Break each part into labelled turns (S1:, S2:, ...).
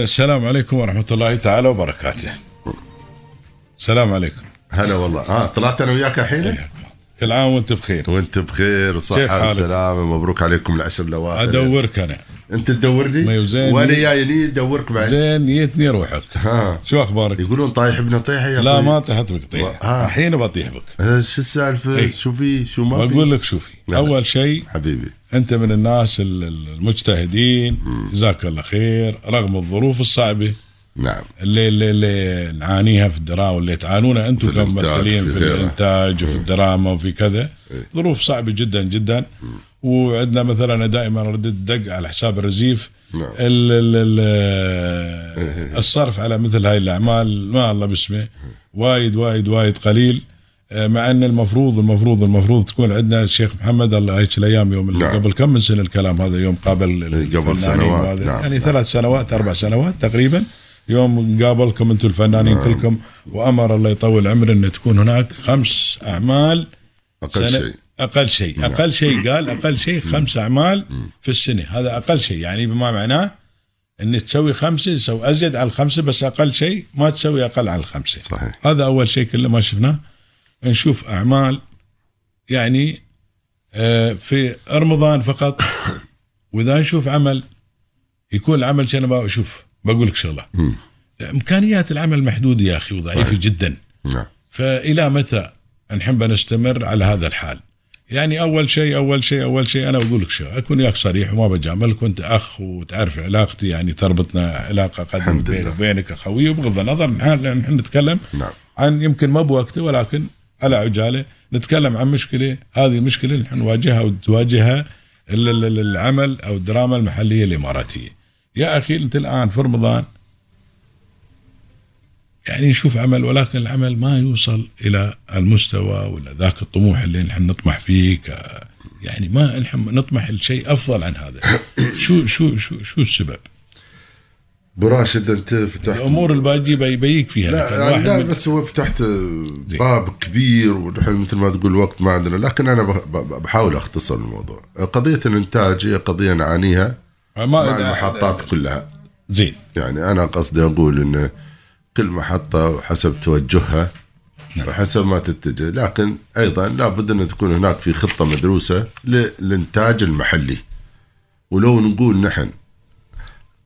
S1: السلام عليكم ورحمة الله تعالى وبركاته. السلام عليكم.
S2: هلا والله ها طلعت انا وياك الحين
S1: كل عام وانت بخير.
S2: وانت بخير
S1: إيه. كيف
S2: وصحة
S1: حالك؟
S2: وسلامة مبروك عليكم العشر الاواخر
S1: ادورك انا.
S2: انت تدورني
S1: ما هو زين.
S2: وانا جاي لي ادورك بعد
S1: زين جيتني روحك.
S2: ها
S1: شو اخبارك؟
S2: يقولون طايح بنا طيحه يا
S1: لا
S2: أخوي.
S1: ما طحت بك طيح.
S2: آه.
S1: الحين بطيح بك.
S2: ها، شو السالفه
S1: إيه.
S2: شو في شو ما في نعم.
S1: بقول لك شوفي
S2: لا.
S1: اول شيء
S2: حبيبي
S1: انت من الناس ال- ال- المجتهدين جزاك الله خير رغم الظروف الصعبه
S2: نعم
S1: اللي اللي, اللي نعانيها في الدراما واللي تعانونها انتم
S2: في الإنتاج،
S1: كممثلين
S2: في إيه.
S1: في
S2: غيره.
S1: الانتاج وفي الدراما وفي كذا ظروف صعبه جدا جدا وعندنا مثلا دائما ردة دق على حساب الرزيف
S2: نعم. إيه،
S1: ال ال ال الصرف على مثل هاي الاعمال ما الله باسمه وايد وايد وايد قليل آه، مع ان المفروض المفروض المفروض تكون عندنا الشيخ محمد الله هيك الايام يوم اللي
S2: نعم.
S1: قبل كم من سنه الكلام هذا يوم قابل يعني الفنانين
S2: إيه، سنوات،
S1: وهذا.
S2: نعم،
S1: يعني
S2: نعم.
S1: ثلاث سنوات اربع سنوات تقريبا يوم قابلكم انتم الفنانين
S2: نعم.
S1: كلكم وامر الله يطول عمره ان تكون هناك خمس اعمال سنة-
S2: اقل شيء نعم.
S1: اقل شيء اقل شيء قال اقل شيء خمس اعمال في السنه هذا اقل شيء يعني بما معناه ان تسوي خمسه تسوي ازيد على الخمسه بس اقل شيء ما تسوي اقل على الخمسه
S2: صحيح
S1: هذا اول شيء كله ما شفناه نشوف اعمال يعني آه، في رمضان فقط واذا نشوف عمل يكون العمل شنو بقى- شوف بقول لك شغله
S2: مم.
S1: امكانيات العمل محدوده يا اخي وضعيفه جدا
S2: نعم
S1: فالى متى نحب نستمر على هذا الحال يعني اول شيء اول شيء اول شيء انا اقول لك شو اكون ياك صريح وما بجاملك وانت اخ وتعرف علاقتي يعني تربطنا علاقه قدم
S2: الحمد
S1: بيني
S2: لله.
S1: وبينك اخويه وبغض النظر نحن نحن نتكلم
S2: نعم
S1: عن يمكن ما بوقته ولكن على عجاله نتكلم عن مشكله هذه المشكله اللي نواجهها وتواجهها ال- ال- ال- العمل او الدراما المحليه الاماراتيه. يا اخي انت الان في رمضان يعني نشوف عمل ولكن العمل ما يوصل الى المستوى ولا ذاك الطموح اللي نحن نطمح فيه ك- يعني ما نحن نطمح لشيء افضل عن هذا. شو شو شو شو السبب؟
S2: ابو راشد انت فتحت
S1: الامور الباقيه بيبيك فيها لكن
S2: لا
S1: الواحد
S2: يعني لا
S1: من-
S2: بس هو فتحت باب كبير ونحن مثل ما تقول وقت ما عندنا لكن انا بح- بح- بحاول اختصر الموضوع قضيه الانتاج هي قضيه نعانيها مع المحطات كلها
S1: زين
S2: يعني انا قصدي اقول ان كل محطه وحسب توجهها وحسب ما تتجه لكن ايضا لابد ان تكون هناك في خطه مدروسه للانتاج المحلي ولو نقول نحن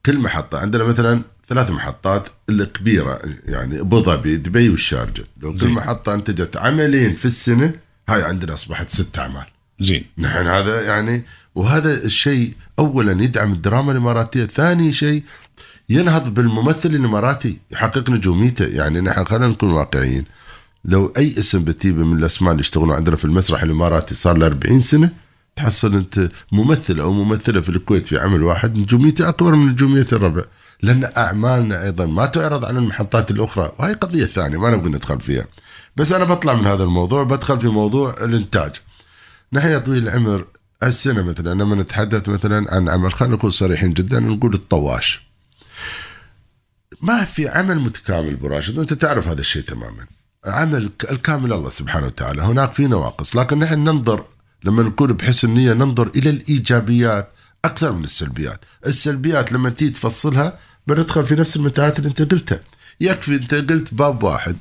S2: كل محطه عندنا مثلا ثلاث محطات الكبيره يعني ابو ظبي دبي والشارجه لو كل محطه انتجت عملين في السنه هاي عندنا اصبحت ست اعمال
S1: زين
S2: نحن هذا يعني وهذا الشيء اولا يدعم الدراما الاماراتيه، ثاني شيء ينهض بالممثل الاماراتي يحقق نجوميته، يعني نحن خلينا نكون واقعيين. لو اي اسم بتجيبه من الاسماء اللي يشتغلون عندنا في المسرح الاماراتي صار له 40 سنه تحصل انت ممثل او ممثله في الكويت في عمل واحد نجوميته اكبر من نجوميه الربع، لان اعمالنا ايضا ما تعرض على المحطات الاخرى، وهي قضيه ثانيه ما نبغى ندخل فيها. بس انا بطلع من هذا الموضوع بدخل في موضوع الانتاج. نحن يا طويل العمر السنه مثلا لما نتحدث مثلا عن عمل خلينا نكون صريحين جدا نقول الطواش ما في عمل متكامل براشد انت تعرف هذا الشيء تماما عمل ك- الكامل الله سبحانه وتعالى هناك في نواقص لكن نحن ننظر لما نكون بحسن نيه ننظر الى الايجابيات اكثر من السلبيات السلبيات لما تيجي تفصلها بندخل في نفس المنتهيات اللي انت قلتها يكفي انت قلت باب واحد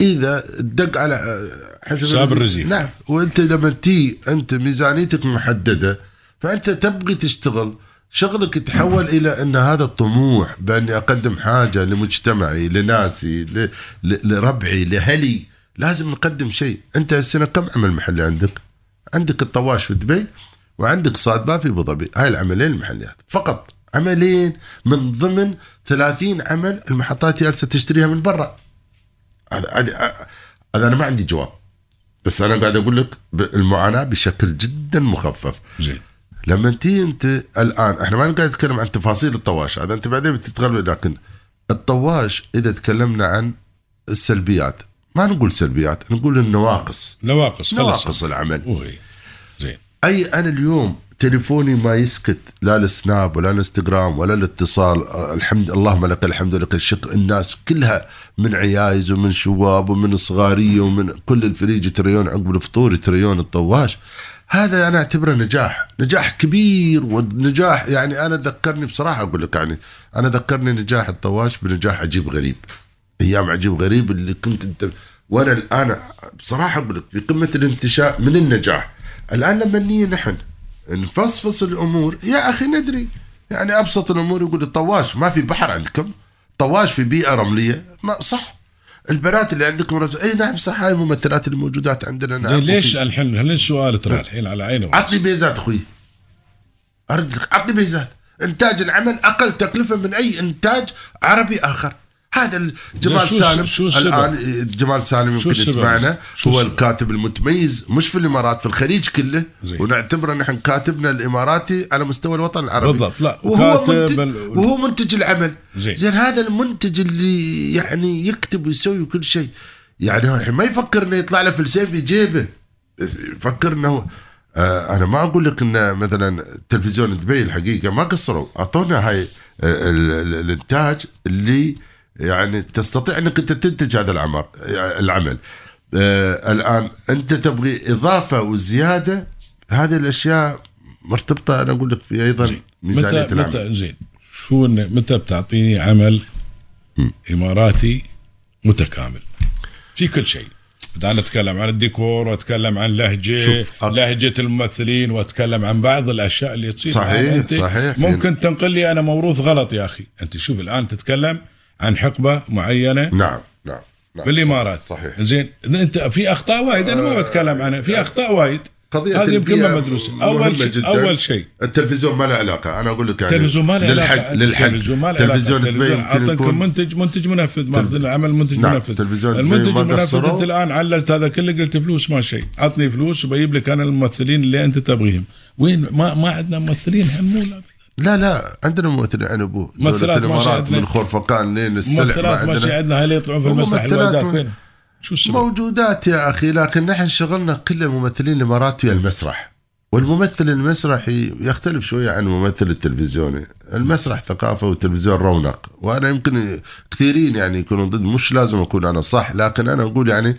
S2: اذا دق على آه، حسب
S1: حساب الرزيف.
S2: نعم وانت لما تي انت ميزانيتك محدده فانت تبغي تشتغل شغلك يتحول الى ان هذا الطموح باني اقدم حاجه لمجتمعي لناسي ل... ل... لربعي لاهلي لازم نقدم شيء انت السنه كم عمل محلي عندك عندك الطواش في دبي وعندك صادبا في ابو ظبي هاي العملين المحليات فقط عملين من ضمن 30 عمل المحطات جالسه تشتريها من برا هذا هذا- هذا انا ما عندي جواب بس انا قاعد اقول لك ب- المعاناه بشكل جدا مخفف
S1: زين
S2: لما تيجي انت الان احنا ما قاعد نتكلم عن تفاصيل الطواش هذا انت بعدين بتتغلب لكن الطواش اذا تكلمنا عن السلبيات ما نقول سلبيات نقول النواقص
S1: نواقص خلاص
S2: نواقص العمل
S1: وهي زين
S2: اي انا اليوم تليفوني ما يسكت لا السناب ولا الانستغرام ولا الاتصال أه، الحمد اللهم لك الحمد ولك الشكر الناس كلها من عيايز ومن شباب ومن صغاريه ومن كل الفريج تريون عقب الفطور تريون الطواش هذا انا اعتبره نجاح نجاح كبير ونجاح يعني انا ذكرني بصراحه اقول لك يعني انا ذكرني نجاح الطواش بنجاح عجيب غريب ايام عجيب غريب اللي كنت انت وانا الان بصراحه اقول لك في قمه الانتشاء من النجاح الان لما نيجي نحن نفصفص الامور يا اخي ندري يعني ابسط الامور يقول الطواش ما في بحر عندكم طواش في بيئه رمليه ما صح البنات اللي عندكم رجل اي نعم صح هاي الممثلات الموجودات عندنا نعم
S1: زين ليش الحين هل السؤال ترى الحين على عينه وعينه.
S2: عطني بيزات اخوي اردك عطني بيزات انتاج العمل اقل تكلفه من اي انتاج عربي اخر هذا ال- جمال
S1: شو-
S2: سالم
S1: شو السبب؟
S2: الان جمال سالم
S1: شو
S2: يمكن
S1: السبب؟
S2: يسمعنا
S1: شو
S2: هو
S1: السبب؟
S2: الكاتب المتميز مش في الامارات في الخليج كله
S1: زين.
S2: ونعتبره نحن كاتبنا الاماراتي على مستوى الوطن العربي
S1: بالضبط، لا،
S2: وهو
S1: وكاتب
S2: منتج,
S1: ال-
S2: وهو منتج العمل
S1: زين.
S2: زين هذا المنتج اللي يعني يكتب ويسوي كل شيء يعني هو الحين ما يفكر انه يطلع له فلسفي جيبه بس يفكر انه آه انا ما اقول لك ان مثلا تلفزيون دبي الحقيقه ما قصروا اعطونا هاي آه، ال- ال- الانتاج اللي يعني تستطيع انك انت تنتج هذا العمر العمل آه الان انت تبغي اضافه وزياده هذه الاشياء مرتبطه انا اقول لك في ايضا ميزانيه
S1: متى
S2: العمل
S1: متى زين شو إن- متى بتعطيني عمل اماراتي متكامل في كل شيء بدأنا نتكلم عن الديكور واتكلم عن لهجه
S2: شوف، أك-
S1: لهجه الممثلين واتكلم عن بعض الاشياء اللي تصير
S2: صحيح،
S1: يعني أنت
S2: صحيح.
S1: ممكن تنقل لي انا موروث غلط يا اخي انت شوف الان تتكلم عن حقبه معينه
S2: نعم نعم نعم
S1: بالامارات
S2: صحيح آه، يعني
S1: زين إذا انت في اخطاء وايد انا ما بتكلم عنها في اخطاء وايد
S2: قضية
S1: هذه يمكن ما
S2: البيئة
S1: مدروسه
S2: مهمة
S1: اول شيء
S2: جداً.
S1: اول شيء
S2: التلفزيون ما له علاقه انا اقول لك يعني
S1: التلفزيون ما له
S2: للحق
S1: علاقه
S2: للحق
S1: التلفزيون ما له علاقه
S2: تلفزيون دبي
S1: التلفزيون
S2: يمكن
S1: عطنكم
S2: يكون
S1: منتج منتج منفذ ماخذين العمل منتج
S2: نعم،
S1: منفذ
S2: تلفزيون دبي
S1: المنتج
S2: ما
S1: المنفذ
S2: قصروا.
S1: انت الان عللت هذا كله قلت فلوس ما شيء عطني فلوس وبجيب لك انا الممثلين اللي انت تبغيهم وين ما ما عندنا ممثلين هم
S2: لا لا عندنا ممثل عن ابوه
S1: ممثلات
S2: دولة
S1: ما شاء
S2: الامارات
S1: عندنا.
S2: من خرفقان لين السلع ما
S1: ممثلات ما شيء
S2: عندنا
S1: عندنا هل يطلعون في المسرح
S2: ممثلات
S1: الوداع
S2: ما-
S1: وين شو السبب؟
S2: موجودات يا اخي لكن نحن شغلنا كل الممثلين الاماراتي المسرح والممثل المسرحي يختلف شوية عن الممثل التلفزيوني المسرح ثقافة والتلفزيون رونق وأنا يمكن كثيرين يعني يكونوا ضد مش لازم أكون أنا صح لكن أنا أقول يعني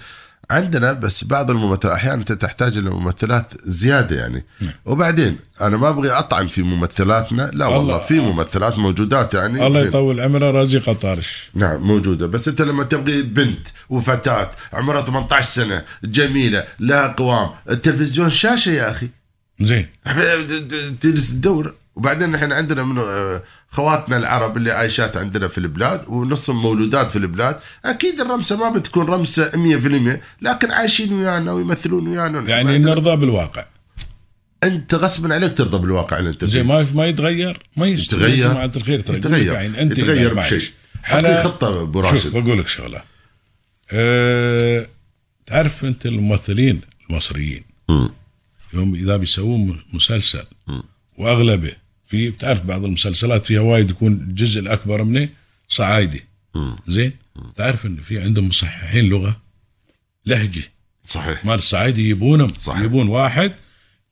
S2: عندنا بس بعض الممثلات أحيانا أنت تحتاج إلى ممثلات زيادة يعني
S1: نعم.
S2: وبعدين أنا ما أبغي أطعن في ممثلاتنا لا والله في ممثلات موجودات يعني
S1: الله
S2: في-
S1: يطول عمره رزق طارش
S2: نعم موجودة بس أنت لما تبغي بنت وفتاة عمرها 18 سنة جميلة لها قوام التلفزيون شاشة يا أخي
S1: زين
S2: تجلس تدور وبعدين احنا عندنا من آه، خواتنا العرب اللي عايشات عندنا في البلاد ونصهم مولودات في البلاد اكيد الرمسه ما بتكون رمسه 100% لكن عايشين ويانا ويمثلون ويانا
S1: يعني نرضى بالواقع
S2: انت غصبا عليك ترضى بالواقع اللي انت
S1: زين
S2: فيه.
S1: ما ما يتغير ما يستوي
S2: يتغير.
S1: يا جماعه الخير ترى
S2: يتغير.
S1: يعني انت
S2: يتغير
S1: إذا معك.
S2: بشيء. حط لي
S1: أنا-
S2: خطة أبو
S1: شوف
S2: راشد.
S1: بقول لك شغله أه تعرف انت الممثلين المصريين
S2: مم.
S1: يوم اذا بيسوون مسلسل واغلبه في بتعرف بعض المسلسلات فيها وايد يكون الجزء الاكبر منه صعايدي
S2: مم.
S1: زين تعرف ان في عندهم مصححين لغه لهجه
S2: صحيح
S1: مال الصعايدي يبونهم
S2: صح.
S1: يبون واحد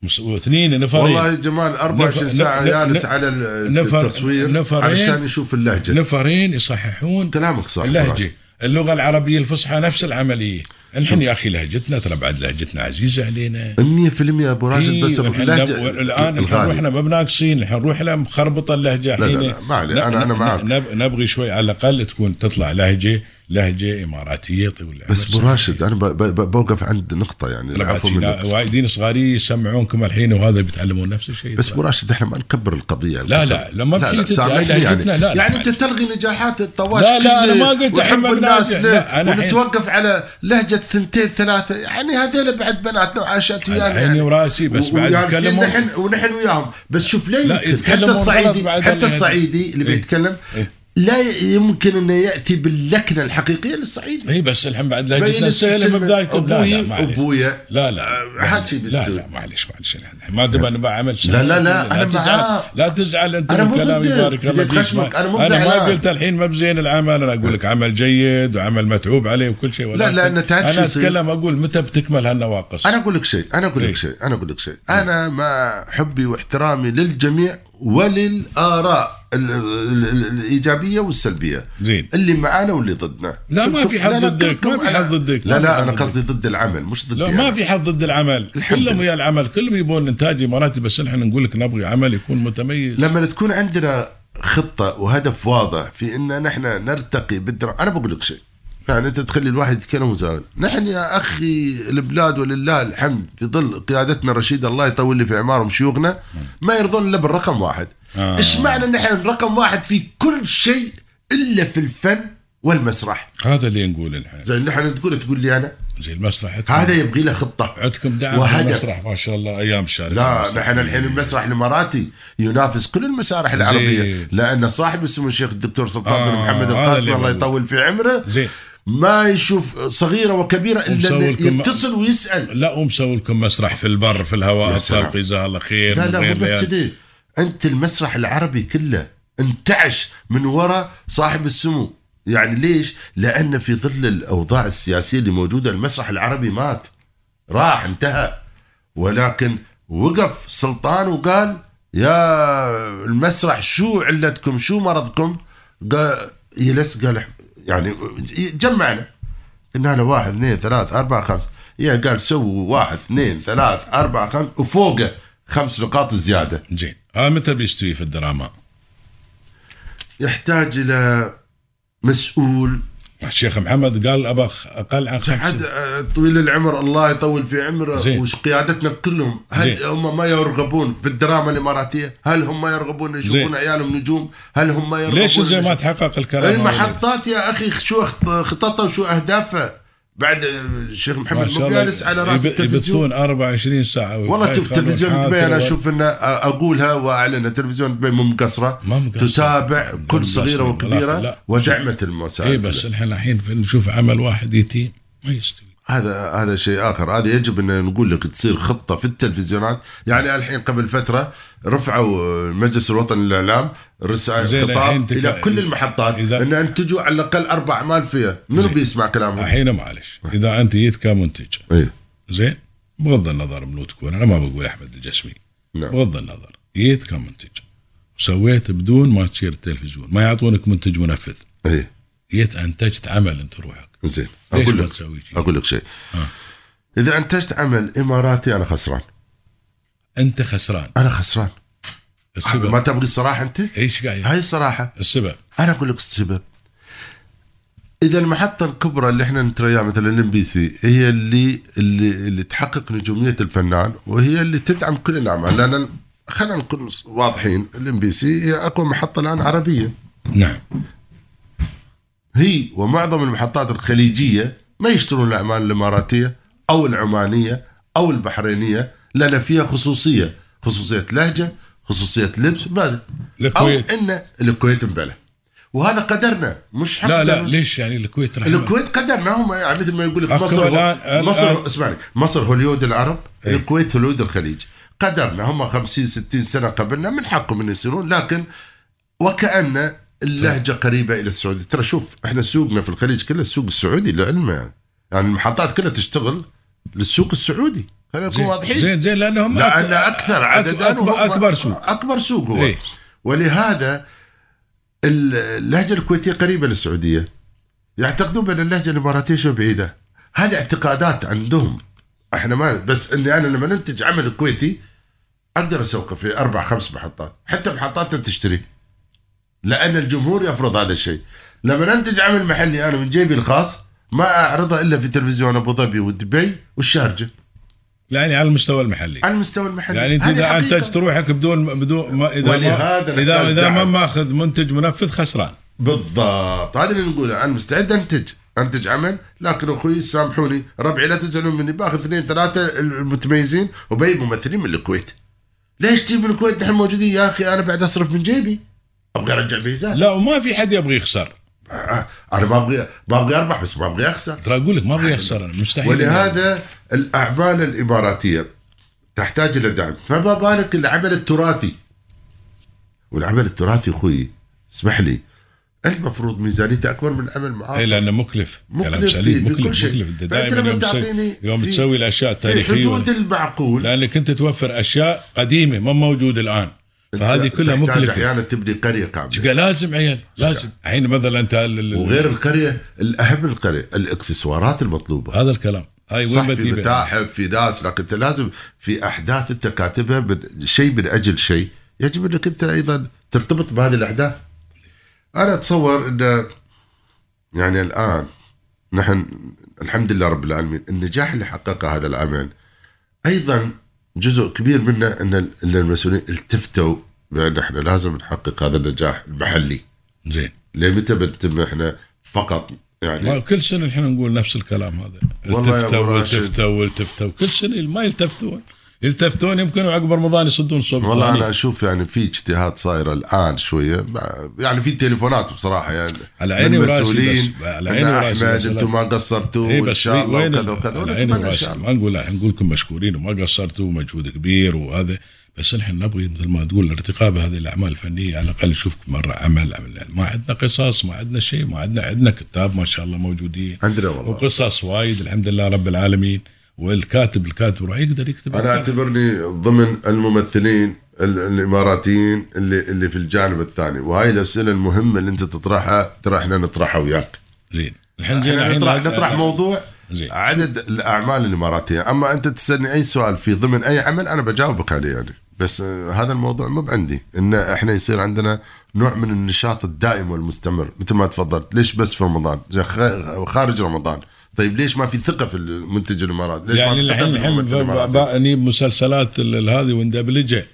S1: مس- واثنين نفرين
S2: والله يا جمال 24
S1: نفر-
S2: ساعه
S1: نف-
S2: جالس
S1: نف-
S2: على ال-
S1: نفر-
S2: التصوير
S1: نفرين.
S2: علشان يشوف اللهجه
S1: نفرين يصححون
S2: كلامك صح أبو
S1: اللهجه
S2: راشد.
S1: اللغه العربيه الفصحى نفس العمليه الحين يا اخي لهجتنا ترى بعد لهجتنا عزيزه علينا
S2: 100% ابو راشد
S1: إيه،
S2: بس
S1: والحين لو-
S2: اللهجه
S1: الان الحين
S2: الغالية.
S1: احنا ما بناقصين الحين نروح لها مخربطه اللهجه
S2: لا،
S1: الحين
S2: لا، ما عليه، أنا- أنا معك.
S1: نب- نبغي شوي على الاقل تكون تطلع لهجه لهجه اماراتيه طول العمر.
S2: بس ابو راشد انا ب- ب- ب- بوقف عند نقطه يعني
S1: طلع
S2: العفو
S1: في
S2: منك.
S1: نا- وايدين صغاري يسمعونكم الحين وهذا بيتعلمون نفس الشيء
S2: بس ابو راشد احنا ما نكبر القضيه
S1: لا، لا، لما
S2: لا لا
S1: بحيث
S2: سامحني
S1: تتعالج
S2: يعني
S1: لهجتنا، لا، لا،
S2: يعني
S1: معلش.
S2: انت تلغي نجاحات الطواش
S1: لا، لا،
S2: كله
S1: أنا ما قلت
S2: وحب
S1: إحنا
S2: الناس
S1: بنناجح.
S2: له
S1: لا، أنا الحين-
S2: ونتوقف على لهجه ثنتين ثلاثه يعني هذول بعد بنات عاشت ويانا
S1: الحين وراسي بس
S2: و-
S1: بعد
S2: وجالسين
S1: يتكلموا-
S2: نحن ونحن وياهم بس شوف لا
S1: لا،
S2: يمكن حتى
S1: يتكلموا غلط
S2: الصعيدي
S1: بعد
S2: حتى
S1: اللهجة.
S2: الصعيدي اللي
S1: إيه.
S2: بيتكلم
S1: إيه.
S2: لا يمكن انه ياتي باللكنه الحقيقيه للصعيدي
S1: اي إيه، بس الحين بعد
S2: بين
S1: لهجتنا سهله من بدايتكم لا لا
S2: ابوي
S1: معليش
S2: ابويا
S1: لا لا
S2: أه، حكي
S1: لا
S2: بالسوء
S1: لا معليش معليش الحين. ما دام انا بعمل شيء
S2: لا، لا، لا، أنا
S1: تزعل
S2: معاه.
S1: لا تزعل انت
S2: أنا
S1: من
S2: مو
S1: كلامي
S2: ضدك.
S1: بارك الله
S2: بديت
S1: فيك
S2: خشمك، أنا مو
S1: ما- انا ما
S2: زعلان.
S1: قلت الحين ما بزين العمل انا اقول لك عمل جيد وعمل متعوب عليه وكل شيء ولكن
S2: لأن تعرف شو
S1: انا
S2: يصير؟
S1: اتكلم اقول متى بتكمل هالنواقص
S2: انا اقول لك شيء انا اقول
S1: إيه.
S2: لك شيء انا اقول لك شيء انا ما حبي واحترامي للجميع وللاراء ال- ال- ال- الايجابيه والسلبيه
S1: زين
S2: اللي معانا واللي ضدنا
S1: لا، ما في حد
S2: لا، لا،
S1: ضدك، ما
S2: كلكم
S1: في
S2: على-
S1: حد ضدك، ما
S2: لا
S1: في
S2: لا
S1: حد
S2: انا
S1: ضدك.
S2: قصدي ضد العمل مش ضد
S1: لا ما في حد ضد العمل
S2: الحمد
S1: كلهم
S2: لله.
S1: ويا العمل كلهم يبون انتاج اماراتي بس نحن نقول لك نبغي عمل يكون متميز
S2: لما تكون عندنا خطه وهدف واضح في ان نحن نرتقي بالدرا انا بقول لك شيء يعني انت تخلي الواحد يتكلم وزاول نحن يا اخي البلاد ولله الحمد في ظل قيادتنا الرشيده الله يطول لي في اعمارهم شيوخنا ما يرضون الا بالرقم واحد
S1: آه.
S2: ايش معنى ان احنا رقم واحد في كل شيء الا في الفن والمسرح
S1: هذا اللي نقول الحين
S2: زي اللي احنا تقول تقول لي انا
S1: زي المسرح عندكم-
S2: هذا يبغي له خطه
S1: عندكم دعم
S2: وهدف.
S1: المسرح ما شاء الله ايام الشارع
S2: لا
S1: المسرح.
S2: نحن الحين المسرح الاماراتي ينافس كل المسارح العربيه
S1: زين.
S2: لان صاحب السمو الشيخ الدكتور سلطان
S1: آه،
S2: بن محمد
S1: هذا
S2: القاسمي
S1: اللي
S2: الله
S1: بقول.
S2: يطول في عمره
S1: زين
S2: ما يشوف صغيره وكبيره الا إنه
S1: ومصوركم-
S2: يتصل ويسال
S1: لا ومسوي لكم مسرح في البر في الهواء
S2: يا سلام.
S1: السابق جزاه الله خير
S2: لا لا
S1: وغير
S2: مو بس
S1: ليال.
S2: كذي انت المسرح العربي كله انتعش من وراء صاحب السمو يعني ليش؟ لان في ظل الاوضاع السياسيه اللي موجوده المسرح العربي مات راح انتهى ولكن وقف سلطان وقال يا المسرح شو علتكم شو مرضكم قال يلس قال يعني جمعنا قلنا له واحد اثنين ثلاث اربع خمس يا إيه قال سووا واحد اثنين ثلاث اربع خمس وفوقه خمس نقاط زياده
S1: زين هذا متى بيستوي في الدراما؟
S2: يحتاج الى مسؤول
S1: الشيخ محمد قال ابى أخ- اقل عن خمس
S2: حد آه، طويل العمر الله يطول في عمره
S1: زين.
S2: وقيادتنا كلهم هل
S1: زين.
S2: هم ما يرغبون في الدراما الاماراتيه؟ هل هم ما يرغبون يشوفون
S1: زين.
S2: عيالهم نجوم؟ هل هم ما يرغبون
S1: ليش زي ما
S2: يشوفون-
S1: تحقق
S2: إيه،
S1: الكلام هذا؟
S2: المحطات يا اخي شو أخط- خططها وشو اهدافها؟ بعد آه، الشيخ
S1: ما
S2: محمد
S1: شاء
S2: مو
S1: الله
S2: جالس على راس
S1: يب-
S2: التلفزيون
S1: يبثون 24 ساعه
S2: والله شوف تلفزيون دبي انا اشوف انه آه، اقولها واعلنها تلفزيون دبي مو مقصره
S1: ما مقصرة.
S2: تتابع
S1: مو
S2: كل
S1: مقصرة
S2: صغيره
S1: بالعقل،
S2: وكبيره
S1: لا.
S2: ودعمت المساعد
S1: اي إيه، بس احنا الحين نشوف عمل واحد يتيم ما يستوي
S2: هذا هذا شيء اخر هذا يجب ان نقول لك تصير خطه في التلفزيونات يعني الحين قبل فتره رفعوا المجلس الوطني للاعلام
S1: زين،
S2: رسائل
S1: الحين
S2: خطاب
S1: تك-
S2: الى كل المحطات
S1: إذا-
S2: ان انتجوا على الاقل اربع اعمال فيها منو
S1: زين.
S2: بيسمع كلامهم؟ إيه،
S1: الحين معلش اذا انت جيت كمنتج
S2: اي
S1: زين بغض النظر منو تكون انا ما بقول احمد الجسمي
S2: نعم
S1: بغض النظر جيت كمنتج وسويت بدون ما تشير التلفزيون ما يعطونك منتج منفذ
S2: اي
S1: جيت انتجت عمل انت روحك
S2: إيه، زين
S1: ليش
S2: اقول
S1: ما
S2: لك
S1: تسوي شيء؟
S2: اقول لك شيء
S1: آه.
S2: اذا انتجت عمل اماراتي انا خسران
S1: انت خسران
S2: انا خسران ما
S1: السبب
S2: تبغي الصراحه انت؟
S1: ايش قاعد
S2: هاي الصراحه
S1: السبب
S2: انا اقول لك السبب اذا المحطه الكبرى اللي احنا نترياها مثلا الام بي سي هي اللي اللي اللي تحقق نجوميه الفنان وهي اللي تدعم كل الاعمال لان خلينا نكون واضحين الام بي سي هي اقوى محطه الان عربيه
S1: نعم
S2: هي ومعظم المحطات الخليجيه ما يشترون الاعمال الاماراتيه او العمانيه او البحرينيه لان فيها خصوصيه خصوصيه لهجه خصوصيه لبس بعد او
S1: الكويت
S2: ان الكويت مبلى وهذا قدرنا مش حق
S1: لا لا ليش يعني الكويت راح
S2: الكويت قدرنا هم يعني مثل ما يقول لك
S1: أكو
S2: مصر
S1: الآن-
S2: مصر
S1: الآن-
S2: اسمعني مصر هوليود العرب
S1: إيه.
S2: الكويت هوليود الخليج قدرنا هم 50 60 سنه قبلنا من حقهم ان يصيرون لكن وكان اللهجه قريبه الى السعوديه ترى شوف احنا سوقنا في الخليج كله السوق السعودي لعلمه يعني يعني المحطات كلها تشتغل للسوق السعودي خلينا نكون واضحين
S1: زين زين لانهم
S2: لأن أكثر عددا
S1: أكبر-
S2: وهو
S1: أكبر سوق.
S2: أكبر سوق هو
S1: إيه.
S2: ولهذا اللهجة الكويتية قريبة للسعودية يعتقدون بأن اللهجة الإماراتية شو بعيدة هذه اعتقادات عندهم احنا ما بس اني انا لما ننتج عمل كويتي اقدر اسوقه في اربع خمس محطات حتى محطات لا تشتري لان الجمهور يفرض هذا الشيء لما ننتج عمل محلي انا من جيبي الخاص ما اعرضه الا في تلفزيون ابو ظبي ودبي والشارجه
S1: يعني على المستوى المحلي
S2: على المستوى المحلي
S1: يعني انت
S2: هذه
S1: اذا
S2: حقيقة.
S1: انتجت روحك بدون بدون ما اذا ما
S2: ولهذا
S1: اذا
S2: نحتاج
S1: اذا ما
S2: دعم.
S1: ماخذ منتج منفذ خسران
S2: بالضبط هذا اللي نقوله انا مستعد انتج انتج عمل لكن اخوي سامحوني ربعي لا تزعلون مني باخذ اثنين ثلاثه المتميزين وبي ممثلين من الكويت ليش تجيب من الكويت نحن موجودين يا اخي انا بعد اصرف من جيبي ابغى ارجع فيزات
S1: لا وما في حد يبغى يخسر
S2: آه، انا ما ابغي ما ابغي اربح بس ما ابغي اخسر
S1: ترى اقول لك ما ابغى يخسر أنا، مستحيل
S2: ولهذا الاعمال الاماراتيه تحتاج الى دعم فما بالك العمل التراثي والعمل التراثي اخوي اسمح لي المفروض ميزانيته اكبر من العمل
S1: اي
S2: معاصر
S1: لانه إيه، مكلف
S2: مكلف
S1: كلام
S2: في-
S1: سليم
S2: في كل
S1: مكلف
S2: شيء.
S1: مكلف انت
S2: فأنت
S1: دائما
S2: لما
S1: يوم, تسوي-
S2: تعطيني
S1: يوم
S2: في-
S1: تسوي الاشياء
S2: في
S1: التاريخيه
S2: حدود المعقول
S1: لانك انت توفر اشياء قديمه ما موجوده الان فهذه كلها
S2: تحتاج
S1: مكلفه
S2: احيانا تبني قريه كامله
S1: شقا لازم عيال لازم الحين مثلا انت ال- ال-
S2: وغير القريه الاهم من القريه الاكسسوارات المطلوبه
S1: هذا الكلام هاي
S2: صح
S1: وين
S2: في
S1: بتجيبها
S2: متاحف في ناس لكن انت لازم في احداث انت كاتبها من شيء من اجل شيء يجب انك انت ايضا ترتبط بهذه الاحداث انا اتصور ان يعني الان نحن الحمد لله رب العالمين النجاح اللي حققه هذا العمل ايضا جزء كبير منه ان ال- إن المسؤولين التفتوا بان احنا لازم نحقق هذا النجاح المحلي
S1: زين
S2: ليه متى بنتم احنا فقط يعني
S1: ما كل سنه الحين نقول نفس الكلام هذا
S2: والله يا
S1: التفتوا
S2: أبو راشد.
S1: والتفتوا والتفتوا كل سنه ما يلتفتون يلتفتون يمكن عقب رمضان يصدون صوب
S2: والله انا
S1: ثاني
S2: اشوف يعني في اجتهاد صاير الان شويه يعني في تليفونات بصراحه يعني
S1: على عيني
S2: من
S1: وراسي
S2: مسؤولين
S1: بس- على
S2: إن
S1: عيني وراسي
S2: احمد
S1: بس لا.
S2: انتم ما قصرتوا
S1: اي
S2: وان
S1: إيه بس
S2: شاء الله
S1: وين
S2: وكذا وكذا
S1: العين
S2: ونتمنى ان شاء
S1: والراس
S2: الله
S1: ما نقول لا، نقول لكم مشكورين وما قصرتوا ومجهود كبير وهذا بس نحن نبغي مثل ما تقول ارتقاء بهذه الاعمال الفنيه على الاقل نشوفك مره عمل عمل ما عندنا قصص ما عندنا شيء ما عندنا عندنا كتاب ما شاء الله موجودين
S2: عندنا والله
S1: وقصص وايد الحمد لله رب العالمين والكاتب الكاتب راح يقدر يكتب
S2: انا
S1: الكاتب.
S2: اعتبرني ضمن الممثلين ال- الاماراتيين اللي اللي في الجانب الثاني وهاي الاسئله المهمه اللي انت تطرحها ترى احنا نطرحها وياك
S1: زين الحين زين
S2: احنا
S1: الحين
S2: نطرح
S1: لا-
S2: نطرح
S1: لا-
S2: موضوع
S1: زين.
S2: عدد الاعمال الاماراتيه اما انت تسالني اي سؤال في ضمن اي عمل انا بجاوبك عليه يعني بس آه، هذا الموضوع مو عندي ان احنا يصير عندنا نوع من النشاط الدائم والمستمر مثل ما تفضلت ليش بس في رمضان زين، خ- خارج رمضان طيب ليش ما في ثقه في المنتج الاماراتي ليش ما
S1: يعني
S2: في ثقة
S1: الحين
S2: في
S1: الحين
S2: الممثل
S1: ب-
S2: الإماراتي؟
S1: ب- اني مسلسلات ال- ال- هذه وندبلجها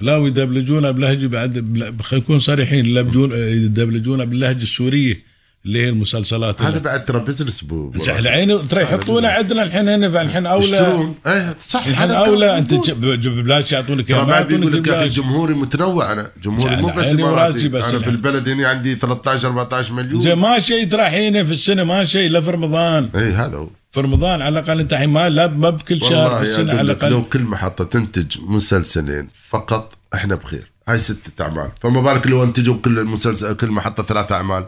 S1: لا ويدبلجونها بلهجه بعد بل- خلينا نكون صريحين لبجون- يدبلجونها باللهجه السوريه اللي هي المسلسلات
S2: هذا بعد ترى بيزنس بو بو-
S1: الحين ترى يحطونه عندنا الحين هنا فالحين اولى
S2: يشترون ايه صح
S1: الحين
S2: هذا
S1: اولى
S2: الكلام
S1: انت
S2: موجود.
S1: ج- ب- ج- ببلاش يعطونك إياه،
S2: ترى
S1: ما
S2: بعد
S1: يعطونك
S2: بيقول لك يا اخي
S1: ببلاش
S2: جمهوري متنوع انا جمهوري مو
S1: يعني
S2: بس
S1: عيني
S2: اماراتي
S1: وراسي بس يعني.
S2: انا في
S1: الحين.
S2: البلد هنا عندي 13 14 مليون
S1: زي ما شيء ترى الحين في السنه ما شيء لا في رمضان
S2: اي هذا هو
S1: في رمضان على الاقل انت الحين ما لا ما بكل شهر
S2: والله
S1: في
S2: يا
S1: السنه على
S2: دولة،
S1: الاقل
S2: لو كل محطه تنتج مسلسلين فقط احنا بخير هاي ستة اعمال فما بالك لو انتجوا كل المسلسل كل محطه ثلاث اعمال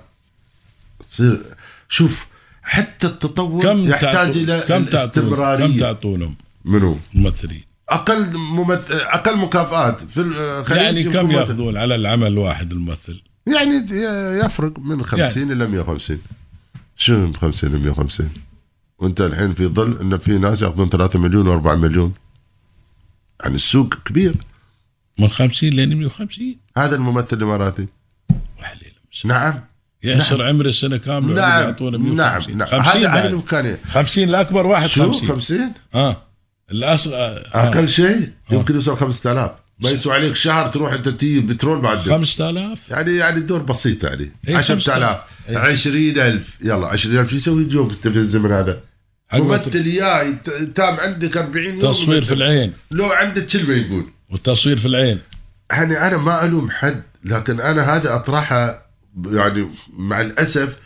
S2: تصير شوف حتى التطور
S1: كم
S2: يحتاج
S1: تعطو-
S2: الى
S1: كم تعطون كم
S2: الاستمراريه
S1: تعطونهم
S2: منو
S1: الممثلين
S2: اقل ممث... اقل مكافآت في الخليج
S1: يعني
S2: يكون
S1: كم
S2: ممثل.
S1: ياخذون على العمل الواحد الممثل؟
S2: يعني ي- يفرق
S1: يعني.
S2: من 50 الى 150 شو من 50 الى 150 وانت الحين في ظل ان في ناس ياخذون 3 مليون و4 مليون يعني السوق كبير
S1: من 50 لين 150
S2: هذا الممثل الاماراتي
S1: وحليل مس-
S2: نعم
S1: يعني يحصر عمره السنه كامله ويقعد
S2: نعم
S1: يعطونه
S2: نعم
S1: 150
S2: نعم
S1: 50
S2: هذا هذه
S1: بعد.
S2: الامكانيه
S1: 50 الاكبر واحد
S2: شو
S1: 50
S2: 50
S1: اه الاصغر آه.
S2: اقل شيء يمكن يوصل 5000 ما يسوى عليك شهر تروح انت تجيب بترول بعد
S1: 5000
S2: يعني يعني الدور بسيط يعني
S1: إيه،
S2: 10000
S1: إيه.
S2: 20000 يلا 20000 شو يسوي اليوم انت في الزمن هذا؟
S1: عقب
S2: ممثل جاي ت- تام عندك 40 يوم
S1: تصوير في العين
S2: لو عندك كلمه يقول
S1: والتصوير في العين
S2: يعني انا ما الوم حد لكن انا هذا اطرحه ب- يعني مع الاسف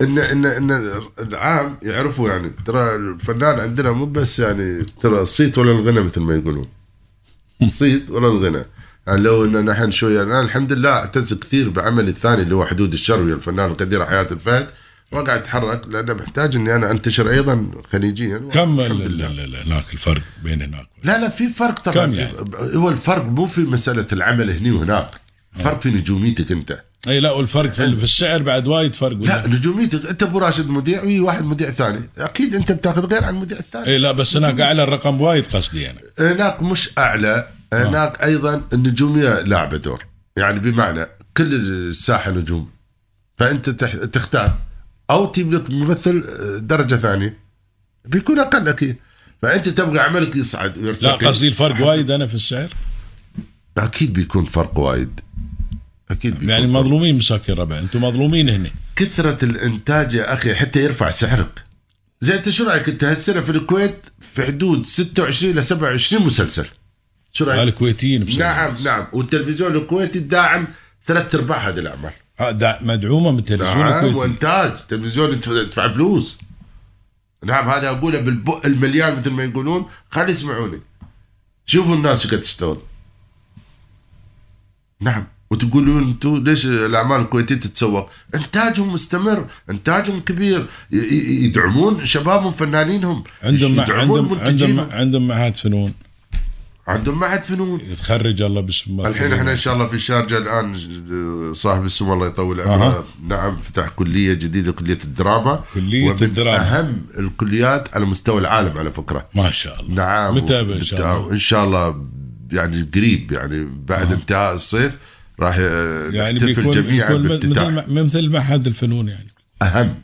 S2: ان ان ان العام يعرفوا يعني ترى الفنان عندنا مو بس يعني ترى الصيت ولا الغنى مثل ما يقولون الصيت ولا الغنى يعني لو ان نحن شويه انا الحمد لله اعتز كثير بعملي الثاني اللي هو حدود الشروي الفنان القدير حياه الفهد وقاعد اتحرك لانه محتاج اني انا انتشر ايضا خليجيا
S1: كم
S2: الحمد
S1: ال-
S2: لله.
S1: ال- ال- هناك الفرق بين هناك
S2: لا لا في فرق طبعا
S1: كم
S2: في-
S1: يعني؟
S2: هو الفرق مو في مساله العمل هني وهناك فرق في نجوميتك انت
S1: اي لا والفرق في, ال- في السعر بعد وايد فرق
S2: لا نجوميتك انت ابو راشد مذيع وي واحد مذيع ثاني اكيد انت بتاخذ غير عن المذيع الثاني
S1: اي لا بس هناك اعلى الرقم وايد قصدي انا
S2: هناك مش اعلى
S1: آه.
S2: هناك ايضا النجوميه لعبه دور يعني بمعنى كل الساحه نجوم فانت تح- تختار او تجيب لك ممثل آه، درجه ثانيه بيكون اقل اكيد فانت تبغى عملك يصعد ويرتقي
S1: لا قصدي الفرق وايد انا في السعر
S2: اكيد بيكون فرق وايد اكيد بيكون
S1: يعني
S2: فرق.
S1: مظلومين مساكين ربع انتم مظلومين هنا
S2: كثرة الإنتاج يا أخي حتى يرفع سعرك زي أنت شو رأيك أنت هالسنة في الكويت في حدود 26 ل 27 مسلسل شو رأيك؟
S1: الكويتيين مسوين.
S2: طيب. نعم نعم والتلفزيون الكويتي داعم ثلاث أرباع هذه الأعمال
S1: آه، دا- مدعومه من التلفزيون
S2: نعم
S1: الكويتي
S2: وإنتاج تلفزيون يدفع- يدفع فلوس نعم هذا أقوله بالبق المليان مثل ما يقولون خلي يسمعوني شوفوا الناس شو قاعد تشتغل نعم وتقولون انتم ليش الاعمال الكويتيه تتسوق؟ انتاجهم مستمر، انتاجهم كبير، ي- ي- يدعمون شبابهم فنانينهم
S1: عندهم مع
S2: يدعمون
S1: عندهم عندهم
S2: منتجينهم
S1: عندهم معهد فنون
S2: عندهم ما عاد فنون
S1: تخرج الله بسم الله
S2: الحين احنا ان شاء الله في الشارجه الان صاحب السمو الله يطول عمره
S1: أها.
S2: نعم فتح كليه جديده كليه الدراما
S1: كلية
S2: ومن
S1: الدراما.
S2: اهم الكليات على مستوى العالم على فكره
S1: ما شاء الله
S2: نعم
S1: متابع ان شاء الله
S2: ان شاء الله يعني قريب يعني بعد انتهاء الصيف راح
S1: يعني
S2: نحتفل
S1: بيكون,
S2: جميعا
S1: بيكون مثل
S2: بافتتاح
S1: ما- مثل معهد الفنون يعني
S2: اهم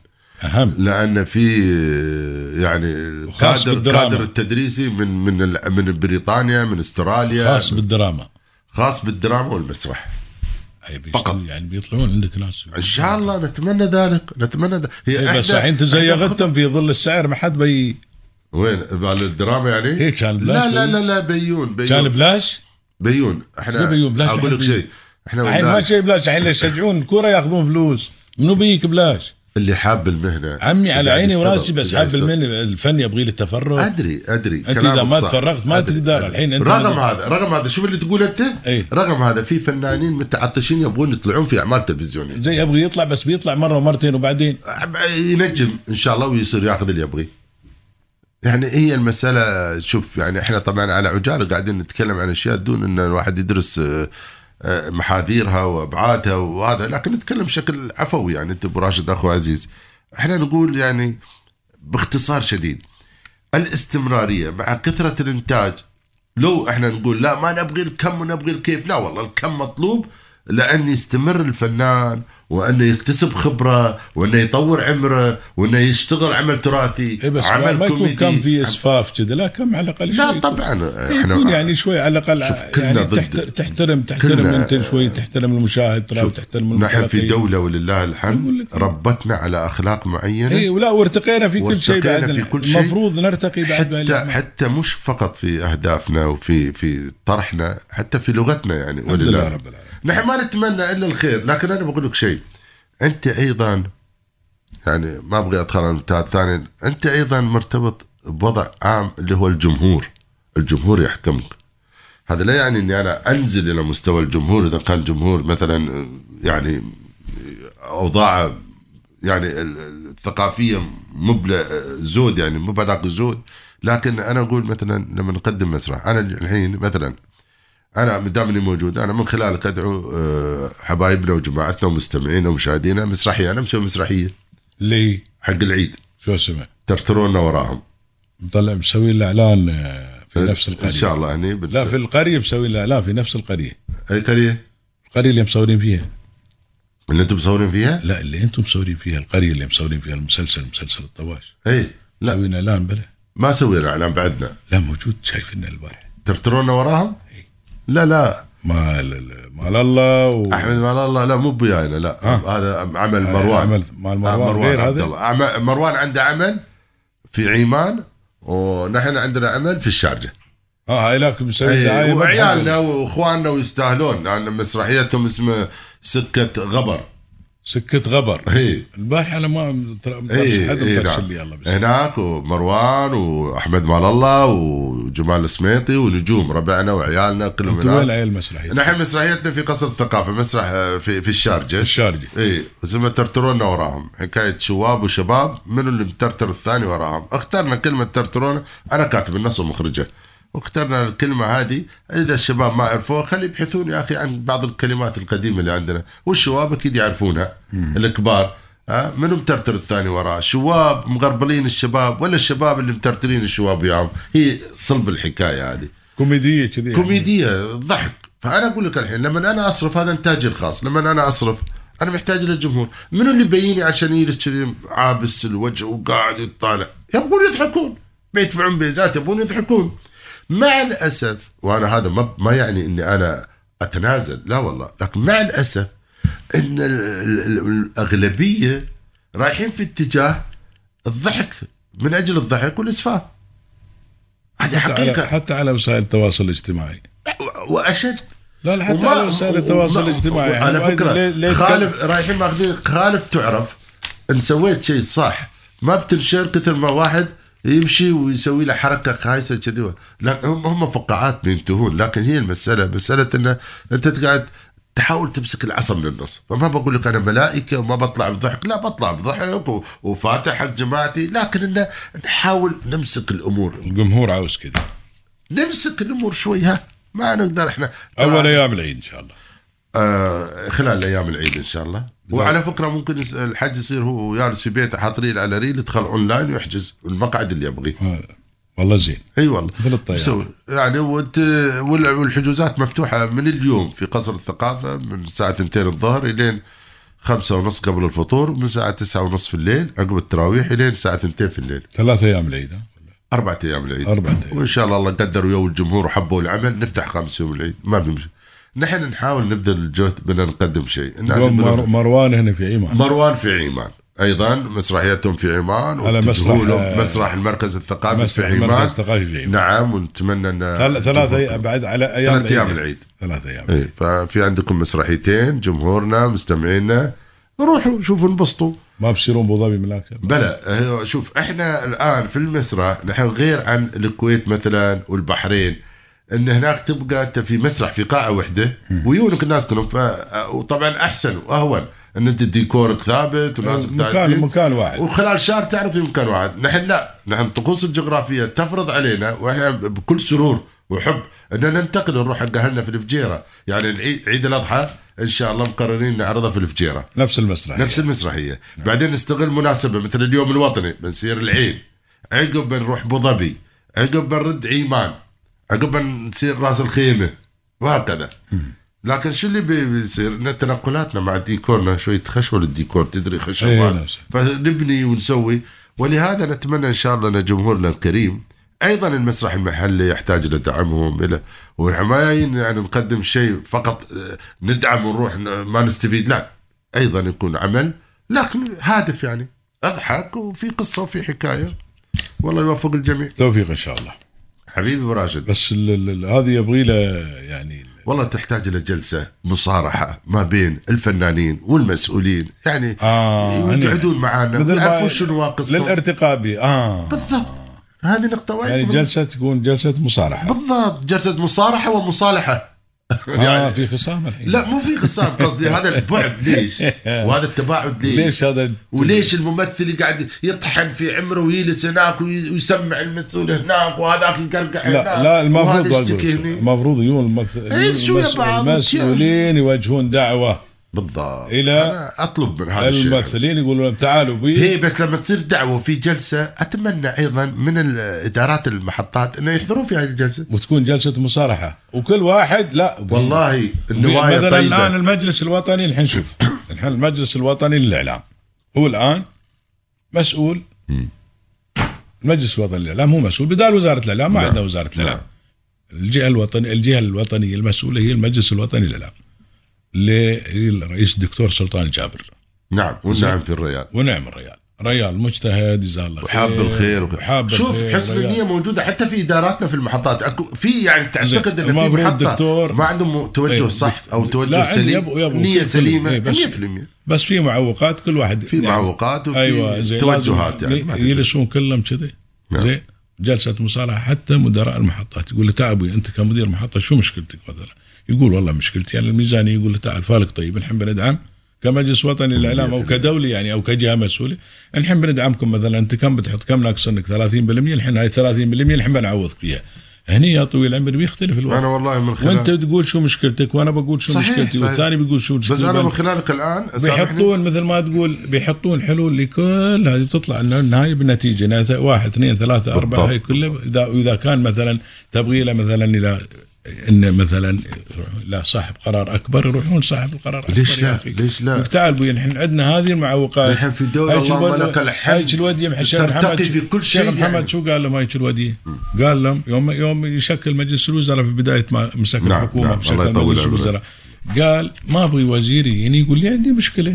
S1: اهم
S2: لان في يعني
S1: خاص
S2: الكادر
S1: بالدراما.
S2: كادر التدريسي من من ال- من بريطانيا من استراليا
S1: خاص بالدراما
S2: خاص بالدراما والمسرح
S1: أي بيشتغل-
S2: فقط.
S1: يعني بيطلعون عندك ناس
S2: ان شاء الله نتمنى ذلك نتمنى ذلك هي
S1: إيه، بس
S2: إحدى-
S1: الحين
S2: إحدى خط-
S1: تزيغتهم في ظل السعر ما حد بي
S2: أيوه. وين على الدراما يعني؟
S1: إيه، كان بلاش
S2: لا لا
S1: بيون.
S2: لا لا بيون بيون
S1: كان بلاش
S2: أيوه، بيون احنا
S1: شو بيون؟ بلاش
S2: اقول لك
S1: بيون.
S2: شيء احنا
S1: الحين ما
S2: والله
S1: شيء بلاش الحين اللي يشجعون الكوره ياخذون فلوس منو بيك بلاش
S2: اللي حاب المهنه
S1: عمي على
S2: قاعد
S1: عيني
S2: يشتغل،
S1: وراسي بس
S2: قاعد
S1: حاب
S2: يشتغل.
S1: المن الفن يبغي له تفرغ
S2: ادري ادري
S1: إذا
S2: كلامك
S1: ما
S2: صح.
S1: تفرغت ما
S2: أدري،
S1: تقدر.
S2: أدري.
S1: الحين أنت هذا-
S2: رغم هذا رغم هذا شوف اللي تقول انت
S1: إيه.
S2: رغم هذا في فنانين متعطشين يبغون يطلعون في اعمال تلفزيونيه
S1: زي يبغي يطلع بس بيطلع مره ومرتين وبعدين
S2: ينجم ان شاء الله ويصير ياخذ اللي يبغيه يعني هي المسألة شوف يعني احنا طبعا على عجالة قاعدين نتكلم عن اشياء دون ان الواحد يدرس آه، آه، محاذيرها وابعادها وهذا لكن نتكلم بشكل عفوي يعني انت ابو راشد اخو عزيز احنا نقول يعني باختصار شديد الاستمرارية مع كثرة الانتاج لو احنا نقول لا ما نبغي الكم ونبغي الكيف لا والله الكم مطلوب لأن يستمر الفنان وأنه يكتسب خبرة وأنه يطور عمره وأنه يشتغل عمل تراثي
S1: إيه بس
S2: عمل
S1: ما يكون كم في اسفاف كذا لا كم على الاقل شوي
S2: لا
S1: يكون.
S2: طبعا
S1: يكون
S2: احنا
S1: يعني شوي على الاقل
S2: شوف، كلنا
S1: يعني
S2: ضد-
S1: تحت- تحترم تحترم
S2: كلنا-
S1: انت شوي تحترم المشاهد ترى
S2: شوف،
S1: وتحترم
S2: نحن في
S1: المتلقي.
S2: دولة ولله
S1: أقول
S2: الحمد
S1: لك. إيه؟
S2: ربتنا على أخلاق معينة
S1: اي إيه، ولا وارتقينا في كل شيء
S2: وارتقينا
S1: بعد
S2: في كل شيء.
S1: المفروض نرتقي بعد
S2: حتى
S1: بهالأعمال.
S2: حتى مش فقط في اهدافنا وفي في طرحنا حتى في لغتنا يعني
S1: الحمد لله
S2: ولله
S1: رب العالمين
S2: نحن ما نتمنى الا الخير لكن انا بقول لك شيء انت ايضا يعني ما ابغى ادخل على المتعة الثاني انت ايضا مرتبط بوضع عام اللي هو الجمهور الجمهور يحكمك هذا لا يعني اني انا انزل الى مستوى الجمهور اذا كان جمهور مثلا يعني اوضاعه يعني ال- ال- الثقافيه مبلى زود يعني مو بذاك زود لكن انا اقول مثلا لما نقدم مسرح انا الحين مثلا انا ما دام اني موجود انا من خلالك ادعو آه، حبايبنا وجماعتنا ومستمعينا ومشاهدينا مسرحيه انا مسوي مسرحيه
S1: ليه
S2: حق العيد
S1: شو اسمه
S2: ترترونا وراهم
S1: مطلع مسوي له اعلان آه، في نفس القريه
S2: ان شاء الله هني بنس... إيه،
S1: لا في القريه مسوي له اعلان في نفس القريه
S2: اي قريه
S1: القريه اللي مصورين فيها
S2: اللي انتم مصورين فيها؟
S1: لا اللي انتم مصورين فيها القريه اللي مصورين فيها المسلسل مسلسل الطواش
S2: اي لا
S1: مسويين اعلان بلا
S2: إيه، ما سوينا اعلان بعدنا
S1: لا موجود شايفينه البارح
S2: ترترونا وراهم؟
S1: إيه.
S2: لا لا
S1: مال مال الله و...
S2: احمد مال الله لا مو بيانا لا هذا عمل مروان
S1: آه. عمل مال
S2: آه،
S1: مروان غير
S2: عبد
S1: هذا
S2: الله. عم- مروان عنده عمل في عمان ونحن عندنا عمل في الشارجه
S1: اه هاي لكن مسوي
S2: أي،
S1: دعايه
S2: إيه، وعيالنا واخواننا ويستاهلون لان مسرحيتهم اسمه سكه غبر
S1: سكه غبر
S2: اي
S1: البارحه انا ما ترى ما
S2: اي
S1: طرش حد
S2: إي،
S1: ما طرش
S2: إيه. نعم.
S1: لي الله بس
S2: هناك ومروان واحمد مال الله وجمال السميطي ونجوم ربعنا وعيالنا كلهم
S1: انتوا وين
S2: هناك
S1: عيال المسرحيه؟
S2: نحن مسرحيتنا في قصر الثقافه مسرح آه، في في الشارجه
S1: الشارجه
S2: اي اسمها ترترونا وراهم حكايه شواب وشباب منو اللي مترتر الثاني وراهم اخترنا كلمه ترترونا انا كاتب النص ومخرجه واخترنا الكلمه هذه اذا الشباب ما عرفوها خلي يبحثون يا اخي عن بعض الكلمات القديمه اللي عندنا والشباب اكيد يعرفونها الكبار ها منو مترتر الثاني وراه شواب مغربلين الشباب ولا الشباب اللي مترترين الشباب وياهم هي صلب الحكايه هذه
S1: كوميديه كذي
S2: كوميديه ضحك فانا اقول لك الحين لما انا اصرف هذا انتاجي الخاص لما انا اصرف انا محتاج للجمهور منو اللي بيجيني عشان يجلس كذي عابس الوجه وقاعد يطالع يبغون يضحكون بيدفعون بيزات يبغون يضحكون مع الاسف وانا هذا ما ما يعني اني انا اتنازل لا والله لكن مع الاسف ان ال- ال- ال- الاغلبيه رايحين في اتجاه الضحك من اجل الضحك والاسفاف هذه
S1: حتى على,
S2: حقيقه
S1: حتى على وسائل التواصل الاجتماعي
S2: و- واشد
S1: لا لا، حتى
S2: وما-
S1: على وسائل التواصل
S2: وما-
S1: الاجتماعي يعني
S2: على
S1: وايد-
S2: فكره
S1: ليه- ليه
S2: خالف
S1: تكلم-
S2: رايحين ماخذين خالف تعرف ان سويت شيء صح ما بتنشر كثر ما واحد يمشي ويسوي له حركه خايسه كذي لكن هم هم فقاعات بينتهون لكن هي المساله مساله انه انت قاعد تحاول تمسك العصا من النص فما بقول لك انا ملائكه وما بطلع بضحك لا بطلع بضحك و- وفاتح حق جماعتي لكن انه نحاول نمسك الامور
S1: الجمهور عاوز كذا
S2: نمسك الامور شوي ها ما نقدر احنا
S1: اول ايام العيد ان شاء الله
S2: آه خلال ايام العيد ان شاء الله
S1: نعم.
S2: وعلى فكره ممكن يس- الحج يصير هو جالس في بيته حاط ريل على ريل يدخل اونلاين ويحجز المقعد اللي يبغيه
S1: هذا. آه، والله زين
S2: اي والله
S1: مثل الطيارة.
S2: بسوي. يعني وانت وال- والحجوزات مفتوحه من اليوم في قصر الثقافه من الساعه 2 الظهر الين خمسة ونص قبل الفطور ومن الساعة تسعة ونص في الليل عقب التراويح الين الساعة 2 في الليل
S1: ثلاث ايام العيد ها؟
S2: أربعة أيام العيد
S1: أربعة أيام.
S2: وإن شاء الله الله قدروا يوم الجمهور وحبوا العمل نفتح خمس يوم العيد ما بيمشي نحن نحاول نبذل الجهد بدنا نقدم شيء الناس يبدأ-
S1: مر- مروان هنا في عمان
S2: مروان في عيمان ايضا مسرحيتهم في عيمان
S1: على مسرح- آه،
S2: واتجهوا له مسرح المركز الثقافي في
S1: مسرح
S2: عيمان
S1: المركز الثقافي في عمان
S2: نعم ونتمنى ان
S1: ثل- ثلاث أي- بعد على ايام
S2: ثلاث أيام العيد.
S1: ثلاث ايام
S2: إيه، ففي عندكم مسرحيتين جمهورنا مستمعينا روحوا شوفوا انبسطوا
S1: ما بصيرون ابو ظبي ملاك
S2: بلا هو شوف احنا الان في المسرح نحن غير عن الكويت مثلا والبحرين ان هناك تبقى انت في مسرح في قاعه واحده ويونك الناس كلهم ف... وطبعا احسن واهون ان انت ديكورك ثابت وناسك
S1: مكان مكان واحد
S2: وخلال شهر تعرف يمكن واحد نحن لا نحن الطقوس الجغرافيه تفرض علينا واحنا بكل سرور وحب اننا ننتقل نروح حق اهلنا في الفجيره يعني العيد عيد الاضحى ان شاء الله مقررين نعرضه في الفجيره
S1: نفس المسرح
S2: نفس المسرحيه بعدين نستغل مناسبه مثل اليوم الوطني بنصير العين عقب بنروح ابو ظبي عقب بنرد عيمان عقب بنصير راس الخيمه وهكذا لكن شو اللي بي- بيصير ان تنقلاتنا مع ديكورنا شوي تخشوا للديكور تدري خشوا
S1: إيه،
S2: بعض.
S1: نفس.
S2: فنبني ونسوي ولهذا نتمنى ان شاء الله ان جمهورنا الكريم ايضا المسرح المحلي يحتاج الى دعمهم الى ونحن ما جايين يعني نقدم شيء فقط آه، ندعم ونروح ن- ما نستفيد لا ايضا يكون عمل لكن هادف يعني اضحك وفي قصه وفي حكايه والله يوفق الجميع
S1: توفيق ان شاء الله
S2: حبيبي ابو راشد
S1: بس ال- ال- ال- هذه يبغي له يعني
S2: والله تحتاج الى جلسه مصارحه ما بين الفنانين والمسؤولين يعني
S1: آه،
S2: يقعدون معانا
S1: مثل ما-
S2: يعرفون شنو ناقصهم
S1: للارتقاء به اه
S2: بالضبط هذه نقطة وايد
S1: يعني
S2: مهمة.
S1: جلسه تكون جلسه مصارحه
S2: بالضبط جلسة مصارحة ومصالحة
S1: اه في خصام الحين
S2: يعني لا مو في خصام قصدي هذا البعد ليش؟ وهذا التباعد ليش؟
S1: ليش هذا
S2: وليش الممثل قاعد يطحن في عمره ويجلس هناك وي- ويسمع المثل هناك وهذاك
S1: لا
S2: يقلقع هناك
S1: لا المفروض
S2: وهذا
S1: أقول
S2: يشتكي
S1: شو.
S2: هني
S1: المفروض يجون الممثل-
S2: يمشوا يا بعض،
S1: المسؤولين يوجهون دعوه
S2: بالضبط
S1: إلى
S2: أنا اطلب من هذا الشيء
S1: الممثلين يقولون لهم تعالوا بي
S2: هي إيه، بس لما تصير دعوه في جلسه اتمنى ايضا من ال- ادارات المحطات انه يحضرون في هذه الجلسه
S1: وتكون جلسه مصارحه وكل واحد لا
S2: والله النوايا
S1: مثلا الان
S2: طيبه
S1: المجلس الوطني الحين شوف الحين المجلس الوطني للاعلام هو الان مسؤول المجلس الوطني للاعلام هو مسؤول بدال وزاره الاعلام ما
S2: نعم.
S1: عندنا وزاره الاعلام
S2: نعم.
S1: الجهه الوطنيه الجهه الوطنيه المسؤوله هي المجلس الوطني للاعلام للرئيس الدكتور سلطان جابر
S2: نعم والنعم في الريال
S1: ونعم الريال ريال مجتهد جزاه الله
S2: وحاب
S1: خير،
S2: الخير
S1: إيه، وحاب
S2: شوف
S1: الخير،
S2: حسن
S1: ريال.
S2: النيه موجوده حتى في اداراتنا في المحطات اكو في يعني تعتقد
S1: زين.
S2: ان في
S1: المفروض
S2: محطه
S1: الدكتور-
S2: ما عندهم توجه
S1: إيه،
S2: صح او
S1: دك-
S2: توجه
S1: لا، عندي
S2: سليم
S1: يبقوا- يبقوا
S2: نيه
S1: كل-
S2: سليمه
S1: إيه، بس-
S2: 100%
S1: بس في معوقات كل واحد
S2: في معوقات وفي
S1: ايوه زي
S2: توجهات
S1: لازم
S2: يعني ما تدري.
S1: يجلسون كلهم كذي
S2: نعم.
S1: زين جلسه مصالحه حتى مدراء المحطات يقول له تعبي انت كمدير محطه شو مشكلتك مثلا؟ يقول والله مشكلتي يعني الميزانيه يقول له تعال فالك طيب الحين بندعم كمجلس وطني للاعلام او كدولي يعني او كجهه مسؤوله الحين بندعمكم مثلا انت كم بتحط كم ناقصنك 30% الحين هاي 30% الحين بنعوضك فيها هني يا طويل العمر بيختلف الوضع
S2: انا والله من
S1: وانت
S2: خلال
S1: تقول شو مشكلتك وانا بقول شو
S2: صحيح،
S1: مشكلتي
S2: صحيح.
S1: والثاني بيقول شو مشكلتي
S2: بس انا من خلالك الان سامحني
S1: بيحطون مثل ما تقول بيحطون حلول لكل هذه بتطلع لنا النهايه بالنتيجه نهاية واحد اثنين ثلاثه اربعه
S2: بالضبط.
S1: هاي كلها اذا واذا كان مثلا تبغي له مثلا الى ان مثلا لا صاحب قرار اكبر يروحون صاحب القرار اكبر
S2: ليش
S1: يا
S2: لا؟
S1: أخي.
S2: ليش لا؟
S1: لك تعال بوي نحن عندنا هذه المعوقات
S2: نحن في دولة
S1: هايج
S2: اللهم
S1: الود-
S2: لك الحمد.
S1: هايج الودي يم- شيخ
S2: ترتقي
S1: محمد
S2: في كل
S1: شيخ
S2: شيء
S1: محمد
S2: يعني.
S1: شو قال لهم هايج الودي؟ قال لهم يوم يوم يشكل مجلس الوزراء في بدايه ما مسك
S2: نعم،
S1: الحكومه
S2: نعم،
S1: مسك
S2: الله يطول
S1: مجلس
S2: عمرك.
S1: الوزراء قال ما ابغي وزيري يعني يقول لي عندي مشكله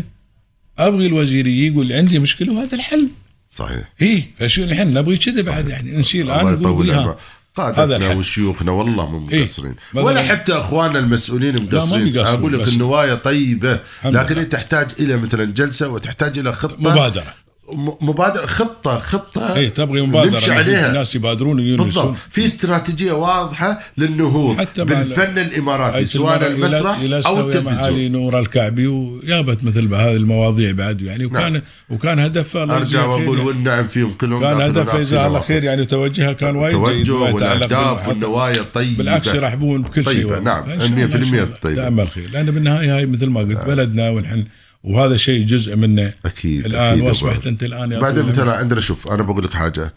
S1: ابغي الوزير يجي يقول لي عندي مشكله وهذا الحل
S2: صحيح
S1: اي فشو نحن نبغي كذا بعد يعني نسير الان
S2: الله
S1: نقول
S2: يطول
S1: لي ها.
S2: عمرك
S1: هذا
S2: قادتنا
S1: الحل.
S2: وشيوخنا والله مو
S1: إيه.
S2: مقصرين
S1: مثلاً-
S2: ولا حتى اخواننا المسؤولين مقصرين
S1: بيقصرون،
S2: اقول لك
S1: بس-
S2: النوايا طيبه
S1: لله.
S2: لكن هي تحتاج الى مثلا جلسه وتحتاج الى خطه
S1: مبادرة.
S2: م- مبادره خطه خطه
S1: اي إيه، تبغي مبادره
S2: نمشي
S1: نحن
S2: عليها.
S1: الناس يبادرون
S2: بالضبط
S1: ويونسون
S2: في استراتيجيه واضحه للنهوض
S1: حتى مع
S2: بالفن الاماراتي
S1: هاي
S2: سواء
S1: سلمان
S2: المسرح
S1: إلى- إلى
S2: او
S1: سوية مع علي
S2: التلفزيون
S1: نور الكعبي وجابت مثل هذه المواضيع بعد يعني وكان نعم. وكان هدفها الله
S2: ارجع
S1: يجزيه خير
S2: واقول
S1: يعني.
S2: والنعم فيهم كلهم
S1: كان
S2: لكن
S1: هدفها
S2: نعم
S1: جزاه الله
S2: فيهم
S1: خير
S2: ناقص.
S1: يعني توجهها كان وايد جيد
S2: التوجه
S1: ما يتعلق
S2: والاهداف
S1: بالمحافظة.
S2: والنوايا الطيبه
S1: بالعكس راح يبون بكل شيء
S2: طيبة،
S1: والله.
S2: نعم،
S1: إن شاء الله،
S2: 100%
S1: إن شاء الله.
S2: طيبة. آه.
S1: دائما الخير لان بالنهايه هاي مثل ما قلت بلدنا ونحن وهذا شيء جزء منه
S2: اكيد
S1: الان
S2: أكيد
S1: واصبحت
S2: أبو
S1: انت الان يا
S2: بعدين
S1: طويل العمر.
S2: مثلا عندنا شوف انا بقول لك حاجه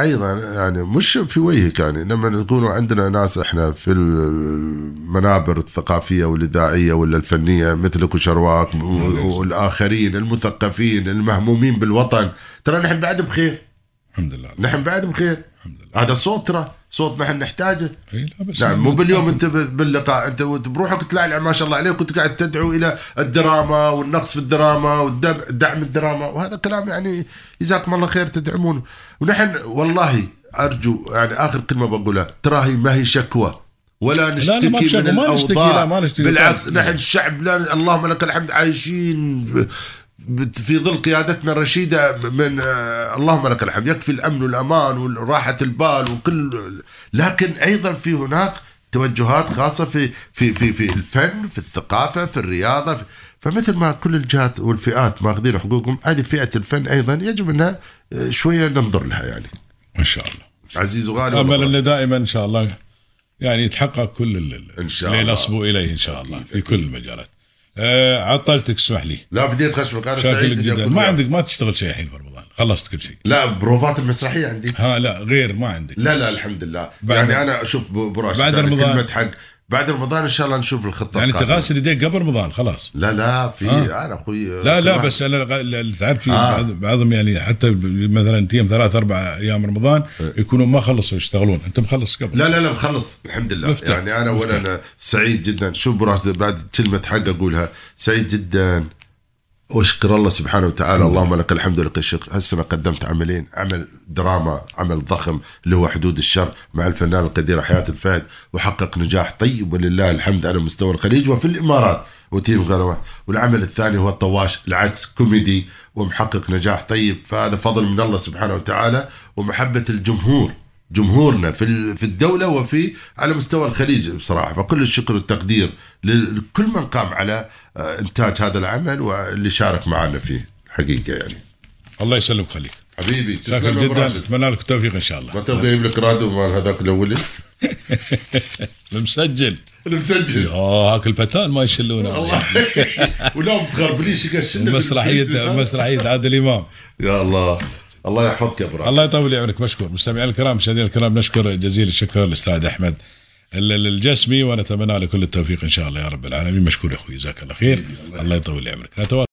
S2: ايضا يعني مش في وجهك يعني لما نكونوا عندنا ناس احنا في المنابر الثقافيه والاذاعيه ولا الفنيه مثلك وشرواك والاخرين المثقفين المهمومين بالوطن ترى نحن بعد بخير
S1: الحمد لله
S2: نحن بعد بخير
S1: الحمد لله
S2: هذا صوت ترى صوت نحن نحتاجه
S1: إي إيه، لا بس يعني
S2: نعم مو باليوم انت ب- باللقاء انت وانت بروحك تلعلع ما شاء الله عليك كنت قاعد تدعو الى الدراما والنقص في الدراما ودعم الدراما وهذا كلام يعني جزاكم الله خير تدعمون ونحن والله ارجو يعني اخر كلمه بقولها ترى هي ما هي شكوى ولا
S1: لا،
S2: نشتكي
S1: ما بشكوى،
S2: من
S1: ما نشتكي،
S2: الاوضاع
S1: لا، ما نشتكي. طيب.
S2: بالعكس
S1: طبعاً.
S2: نحن الشعب لا اللهم لك الحمد عايشين ب- ب- في ظل قيادتنا الرشيدة من آه، اللهم لك الحمد يكفي الأمن والأمان وراحة البال وكل لكن أيضا في هناك توجهات خاصة في في في في الفن في الثقافة في الرياضة في فمثل ما كل الجهات والفئات ماخذين حقوقهم هذه فئة الفن أيضا يجب أنها آه، شوية ننظر لها يعني
S1: ان شاء الله
S2: عزيز وغالي
S1: امل
S2: والله.
S1: انه دائما ان شاء الله يعني يتحقق كل ال-
S2: إن شاء
S1: اللي
S2: الله. إيه.
S1: نصبوا اليه ان شاء الله في كل المجالات آه عطلتك اسمح لي
S2: لا بديت خشمك أنا سعيد
S1: شاكلك
S2: إني
S1: جدا
S2: أكون
S1: ما
S2: وياك.
S1: عندك ما تشتغل شيء الحين في رمضان خلصت كل شيء
S2: لا بروفات المسرحية عندي
S1: ها لا غير ما عندك
S2: لا لا الحمد لله
S1: بعد-
S2: يعني انا اشوف ب- ابو راشد
S1: بعد
S2: يعني
S1: رمضان.
S2: كلمه حق بعد رمضان ان شاء الله نشوف الخطه
S1: يعني انت
S2: القادمة.
S1: غاسل يديك قبل رمضان خلاص
S2: لا لا في انا اخوي
S1: لا
S2: كل
S1: لا
S2: واحد-
S1: بس انا غ- ل- تعرف في
S2: آه.
S1: بعض- بعضهم يعني حتى مثلا تيم ثلاث اربع ايام رمضان يكونوا ما خلصوا يشتغلون انت مخلص قبل
S2: إيه. لا لا لا مخلص الحمد لله
S1: مفتاح.
S2: يعني انا اولا أنا سعيد جدا شوف ابو راشد بعد كلمه حق اقولها سعيد جدا واشكر الله سبحانه وتعالى اللهم لك الحمد ولك الشكر هالسنه قدمت عملين عمل دراما عمل ضخم اللي هو حدود الشر مع الفنان القدير حياة الفهد وحقق نجاح طيب ولله الحمد على مستوى الخليج وفي الامارات وتيم غروه والعمل الثاني هو الطواش العكس كوميدي ومحقق نجاح طيب فهذا فضل من الله سبحانه وتعالى ومحبه الجمهور جمهورنا في ال- في الدوله وفي على مستوى الخليج بصراحه فكل الشكر والتقدير لل- لكل من قام على آه، انتاج هذا العمل واللي شارك معنا فيه حقيقه يعني
S1: الله يسلمك خليك
S2: حبيبي تسلم
S1: شاكر
S2: يا أبو
S1: جدا
S2: راشد.
S1: اتمنى لك التوفيق ان شاء الله
S2: متى جايب لك رادو مال هذاك الاولي
S1: المسجل
S2: المسجل
S1: اوه هاك الفتان ما يشلونه
S2: الله ولا متغربليش يقشن
S1: مسرحيه مسرحيه عادل امام
S2: يا الله الله يحفظك يا ابراهيم
S1: الله يطول عمرك مشكور مستمعينا الكرام مشاهدينا الكرام نشكر جزيل الشكر للاستاذ احمد ال- ال- الجسمي ونتمنى له كل التوفيق ان شاء الله يا رب العالمين مشكور يا اخوي جزاك الله خير الله يطول عمرك نتواصل